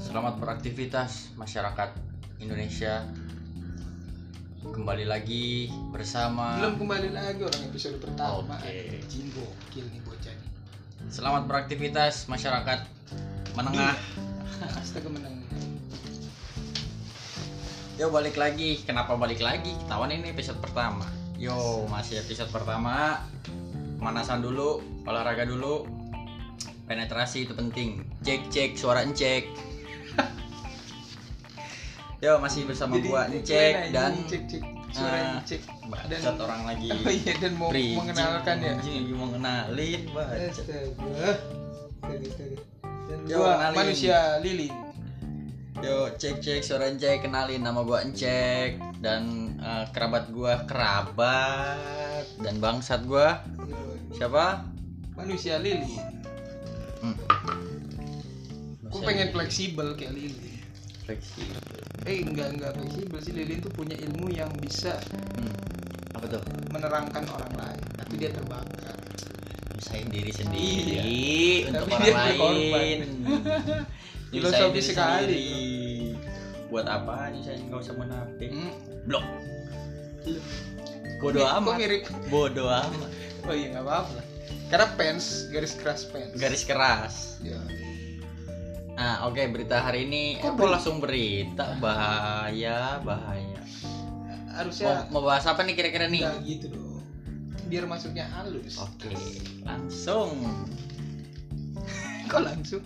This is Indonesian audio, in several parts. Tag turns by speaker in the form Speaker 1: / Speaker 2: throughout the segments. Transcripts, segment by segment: Speaker 1: Selamat beraktivitas masyarakat Indonesia. Kembali lagi bersama
Speaker 2: Belum kembali lagi orang episode pertama.
Speaker 1: Oke.
Speaker 2: Jin gokil nih bocah nih.
Speaker 1: Selamat beraktivitas masyarakat menengah.
Speaker 2: Astaga menang.
Speaker 1: Yo balik lagi. Kenapa balik lagi? Ketahuan ini episode pertama. Yo, masih episode pertama. Pemanasan dulu, olahraga dulu. Penetrasi itu penting. Cek cek suara encek. Yo, masih bersama gua encek dan
Speaker 2: cek cek suara
Speaker 1: eh,
Speaker 2: cek
Speaker 1: bacot orang lagi.
Speaker 2: Oh iya dan mau
Speaker 1: Bridging,
Speaker 2: mengenalkan ya. Eh.
Speaker 1: anjing lagi mau kenalin bacot.
Speaker 2: Astaga. Astaga, astaga. Dan
Speaker 1: Yo,
Speaker 2: gua
Speaker 1: kenalin.
Speaker 2: manusia lilin.
Speaker 1: Yo cek cek suara Encek kenalin nama gua Encek dan eh, kerabat gua kerabat dan bangsat gua siapa?
Speaker 2: Manusia lilin.
Speaker 1: Hmm.
Speaker 2: Gue pengen fleksibel kayak lilin.
Speaker 1: fleksibel.
Speaker 2: Eh enggak enggak fleksibel sih lilin tuh punya ilmu yang bisa
Speaker 1: Hmm. Apa tuh?
Speaker 2: menerangkan orang lain tapi dia terbakar.
Speaker 1: Nyusahin diri sendiri untuk
Speaker 2: Iya. Tapi
Speaker 1: orang
Speaker 2: dia berkorban.
Speaker 1: lain. Nyusahin
Speaker 2: Filosofi
Speaker 1: diri
Speaker 2: sekali.
Speaker 1: sendiri. Buat apa nyusahin nggak usah munafik?
Speaker 2: Hmm.
Speaker 1: Blok.
Speaker 2: Iya.
Speaker 1: Bodoh
Speaker 2: Kok
Speaker 1: amat.
Speaker 2: mirip?
Speaker 1: Bodoh amat.
Speaker 2: Oh iya nggak apa-apa lah. Karena pens garis keras pens.
Speaker 1: Garis keras.
Speaker 2: Ya.
Speaker 1: Nah, oke berita hari ini
Speaker 2: Kok
Speaker 1: eh, kok
Speaker 2: beri-
Speaker 1: langsung berita bahaya bahaya.
Speaker 2: Harusnya
Speaker 1: Mau, mau bahas apa nih kira-kira Oh, nih?
Speaker 2: nggak gitu dong. Biar masuknya halus.
Speaker 1: Oke, langsung.
Speaker 2: Kok langsung?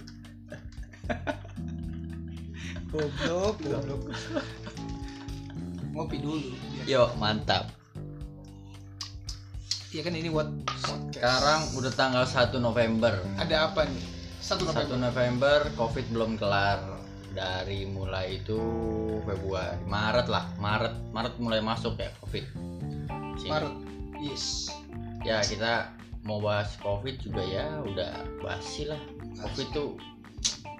Speaker 2: goblok, goblok. Ngopi dulu. biar-
Speaker 1: Yuk, mantap.
Speaker 2: Iya kan ini buat podcast.
Speaker 1: Sekarang udah tanggal 1 November.
Speaker 2: ada apa nih? Satu
Speaker 1: 1
Speaker 2: November.
Speaker 1: November Covid belum kelar. Dari mulai itu Februari, Maret lah, Maret, Maret mulai masuk ya Covid. Sini.
Speaker 2: Maret. Yes.
Speaker 1: Ya, kita mau bahas Covid juga ya, udah basi lah. Covid tuh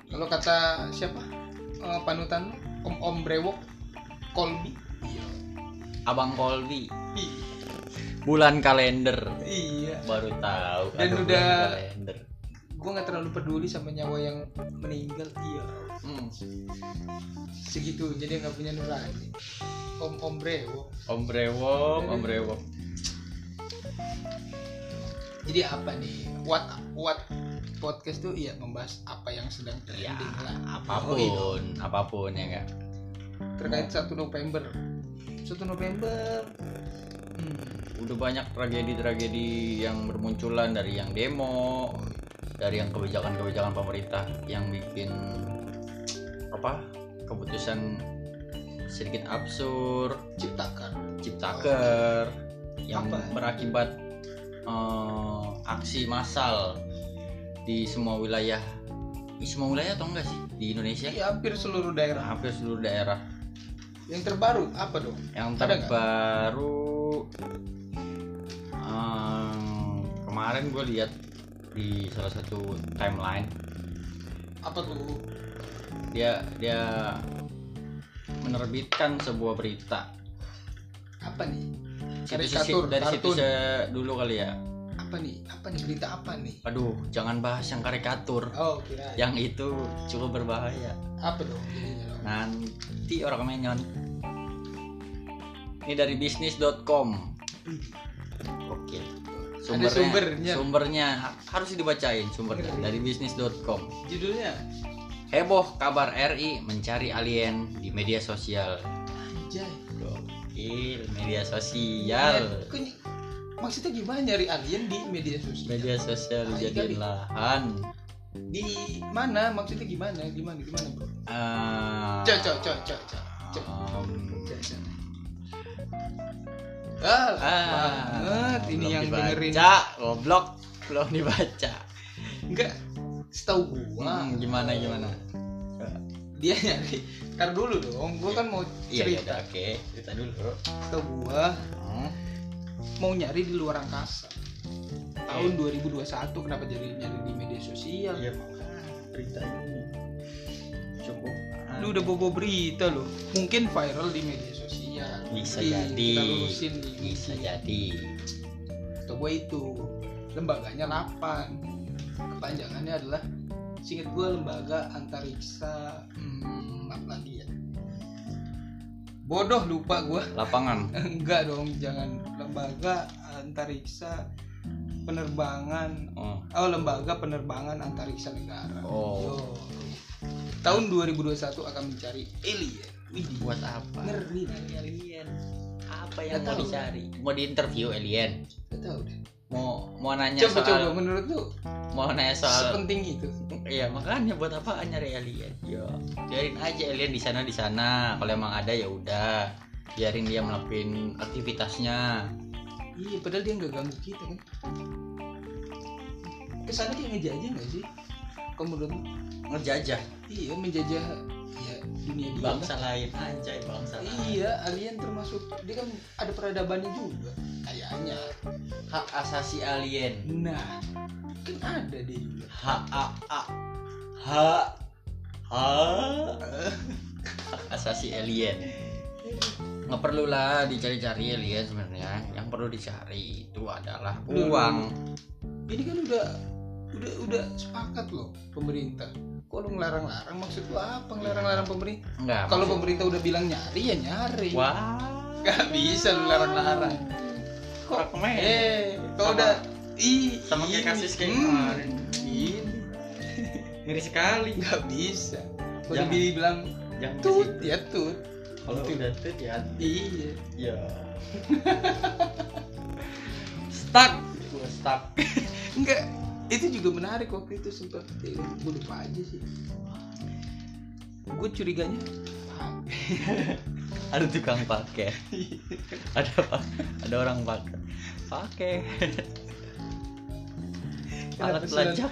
Speaker 2: Kalau kata siapa? Eh, panutan Om Om Brewok Kolbi. Iya.
Speaker 1: Abang Kolbi
Speaker 2: Iya.
Speaker 1: bulan kalender.
Speaker 2: Iya.
Speaker 1: baru tahu
Speaker 2: Dan
Speaker 1: ada
Speaker 2: udah-
Speaker 1: bulan kalender.
Speaker 2: gue nggak terlalu peduli sama nyawa yang meninggal iya
Speaker 1: Hmm,
Speaker 2: segitu jadi nggak punya nurani om om brewok
Speaker 1: om brewok om brewok
Speaker 2: jadi apa nih what what podcast tuh iya membahas apa yang sedang
Speaker 1: ya
Speaker 2: trending lah
Speaker 1: apapun
Speaker 2: Oh,
Speaker 1: apapun ya enggak
Speaker 2: terkait 1 November 1 November hmm,
Speaker 1: udah banyak tragedi-tragedi yang bermunculan dari yang demo dari yang kebijakan-kebijakan pemerintah yang bikin apa keputusan sedikit absurd
Speaker 2: ciptakan
Speaker 1: ciptaker yang
Speaker 2: Apa?
Speaker 1: berakibat eh, aksi massal di semua wilayah di semua wilayah atau enggak sih di Indonesia
Speaker 2: jadi hampir seluruh daerah
Speaker 1: hampir seluruh daerah
Speaker 2: yang terbaru apa dong Ada
Speaker 1: yang
Speaker 2: nggak?
Speaker 1: terbaru em, kemarin gue lihat di salah satu timeline
Speaker 2: apa tuh
Speaker 1: dia dia menerbitkan sebuah berita
Speaker 2: apa nih
Speaker 1: Situs-
Speaker 2: Karikatur,
Speaker 1: dari situ
Speaker 2: kartun.
Speaker 1: dulu kali ya
Speaker 2: apa nih apa nih berita apa nih
Speaker 1: aduh jangan bahas yang karikatur
Speaker 2: oh kira
Speaker 1: yang itu cukup berbahaya
Speaker 2: apa dong jadinya dong?
Speaker 1: nanti orang menyon ini dari bisnis.com oke sumbernya,
Speaker 2: sumbernya. Iya.
Speaker 1: sumbernya ha- harus dibacain sumbernya
Speaker 2: Ngeri.
Speaker 1: dari bisnis.com
Speaker 2: judulnya
Speaker 1: heboh kabar RI mencari alien di media sosial
Speaker 2: anjay
Speaker 1: gokil media
Speaker 2: Ya,
Speaker 1: sosial
Speaker 2: kok ny- maksudnya gimana nyari alien di media sosial?
Speaker 1: media sosial
Speaker 2: Ah, iya
Speaker 1: jadi
Speaker 2: kali.
Speaker 1: lahan
Speaker 2: Di mana? Maksudnya gimana? Gimana? Gimana, Bro?
Speaker 1: Ah,
Speaker 2: Cok, cok, cok, cok, cok. Cok.
Speaker 1: um,
Speaker 2: Cok, cok. Ah, banget ini
Speaker 1: belum
Speaker 2: yang
Speaker 1: dibaca,
Speaker 2: dengerin.
Speaker 1: goblok belum dibaca.
Speaker 2: Enggak setahu gua.
Speaker 1: Hmm, gimana gimana?
Speaker 2: Dia nyari. Ntar dulu dong, gua kan mau
Speaker 1: Iya, iya,
Speaker 2: cerita.
Speaker 1: udah, oke, cerita dulu.
Speaker 2: Setahu gua
Speaker 1: Hmm.
Speaker 2: mau nyari di luar angkasa. Tahun 2021 kenapa jadi nyari di media sosial?
Speaker 1: Iya, cerita ini. Coba.
Speaker 2: Lu udah bobo berita loh. Mungkin viral di media sosial.
Speaker 1: Bisa
Speaker 2: Ih,
Speaker 1: jadi.
Speaker 2: Kita lurusin di
Speaker 1: bisa jadi.
Speaker 2: atau gue itu lembaganya 8 kepanjangannya adalah Singkat gue lembaga antariksa hmm, apa lagi ya? Bodoh lupa gue.
Speaker 1: lapangan
Speaker 2: Enggak dong, jangan lembaga antariksa penerbangan.
Speaker 1: oh,
Speaker 2: Oh, lembaga penerbangan antariksa negara.
Speaker 1: Oh.
Speaker 2: Yo. Tahun 2021 akan mencari alien. Widih.
Speaker 1: buat apa
Speaker 2: Ngeri ngeri, ngeri.
Speaker 1: alien apa yang
Speaker 2: Nggak
Speaker 1: mau
Speaker 2: tahu.
Speaker 1: dicari mau diinterview alien
Speaker 2: Gak tau deh.
Speaker 1: mau mau nanya
Speaker 2: Coba coba
Speaker 1: soal
Speaker 2: menurut lu
Speaker 1: mau nanya soal
Speaker 2: sepenting itu.
Speaker 1: Iya makanya buat apa nyari alien?
Speaker 2: Iya.
Speaker 1: Ya biarin aja alien di sana di sana. Kalau emang ada ya udah biarin dia melakukan aktivitasnya.
Speaker 2: Iya, padahal dia nggak ganggu kita kan. Kesannya kayak ngejajah nggak sih? Kamu menurut lu?
Speaker 1: Ngejajah
Speaker 2: Iya, menjajah ya dunia dia.
Speaker 1: bangsa lain anjay bangsa
Speaker 2: lah.
Speaker 1: lain.
Speaker 2: Iya, alien termasuk dia kan ada peradabannya juga kayaknya.
Speaker 1: Hak asasi alien.
Speaker 2: Nah, kan ada dia juga.
Speaker 1: H A A H H- Hak asasi alien. Nggak perlulah dicari-cari alien sebenarnya. Yang perlu dicari itu adalah
Speaker 2: Dulu.
Speaker 1: uang.
Speaker 2: Ini kan udah udah udah sepakat loh pemerintah. Kok lu ngelarang-larang? Maksud lu apa ngelarang-larang pemerintah?
Speaker 1: Enggak.
Speaker 2: Kalau pemerintah udah bilang nyari ya nyari.
Speaker 1: Wah.
Speaker 2: Nggak bisa lu larang-larang. Kok
Speaker 1: Rekomen.
Speaker 2: Eh,
Speaker 1: Sama-
Speaker 2: kau udah ih
Speaker 1: sama kayak kasus kayak
Speaker 2: hmm,
Speaker 1: kemarin.
Speaker 2: Ini
Speaker 1: Ngeri sekali.
Speaker 2: nggak bisa. Kalau
Speaker 1: Jangan.
Speaker 2: dibilang
Speaker 1: Jangan
Speaker 2: tut
Speaker 1: ke situ.
Speaker 2: ya tut.
Speaker 1: Kalau udah tut ya
Speaker 2: Iya.
Speaker 1: ya. stuck. Gua stuck.
Speaker 2: Enggak. Itu juga menarik waktu itu sempat ya, gue lupa aja sih. Gue curiganya
Speaker 1: Ada tukang pakai. ada apa? Ada orang pakai. Pakai.
Speaker 2: Kenapa
Speaker 1: Alat
Speaker 2: selalu
Speaker 1: pelacak.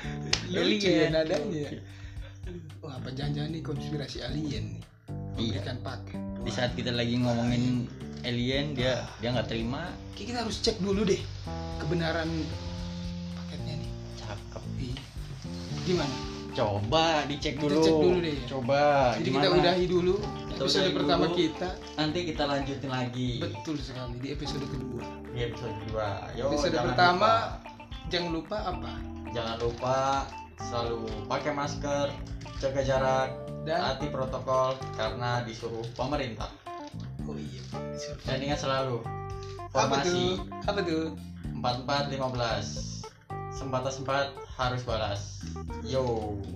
Speaker 2: lucu
Speaker 1: Alien.
Speaker 2: ya nadanya. Wah, apa jangan-jangan nih konspirasi alien nih?
Speaker 1: Iya.
Speaker 2: Memberikan paket.
Speaker 1: Di saat kita lagi ngomongin alien dia dia nggak terima.
Speaker 2: Kayaknya kita harus cek dulu deh kebenaran paketnya nih.
Speaker 1: Cakep.
Speaker 2: Iya. Gimana?
Speaker 1: Coba dicek
Speaker 2: Kita
Speaker 1: dulu.
Speaker 2: cek dulu deh.
Speaker 1: Coba.
Speaker 2: Jadi
Speaker 1: gimana?
Speaker 2: kita udahi dulu
Speaker 1: Kita
Speaker 2: episode
Speaker 1: udahi
Speaker 2: pertama
Speaker 1: dulu.
Speaker 2: kita.
Speaker 1: Nanti kita lanjutin lagi.
Speaker 2: Betul sekali di episode kedua.
Speaker 1: Di episode kedua. Yo,
Speaker 2: Episode
Speaker 1: jangan
Speaker 2: pertama
Speaker 1: lupa.
Speaker 2: jangan lupa apa?
Speaker 1: jangan lupa selalu pakai masker, jaga jarak,
Speaker 2: Dan
Speaker 1: taati protokol karena disuruh pemerintah.
Speaker 2: oh iya.
Speaker 1: Dan ingat selalu
Speaker 2: Apa
Speaker 1: formasi
Speaker 2: tuh? Apa tuh?
Speaker 1: 4415. Sempat sempat harus balas. Yo.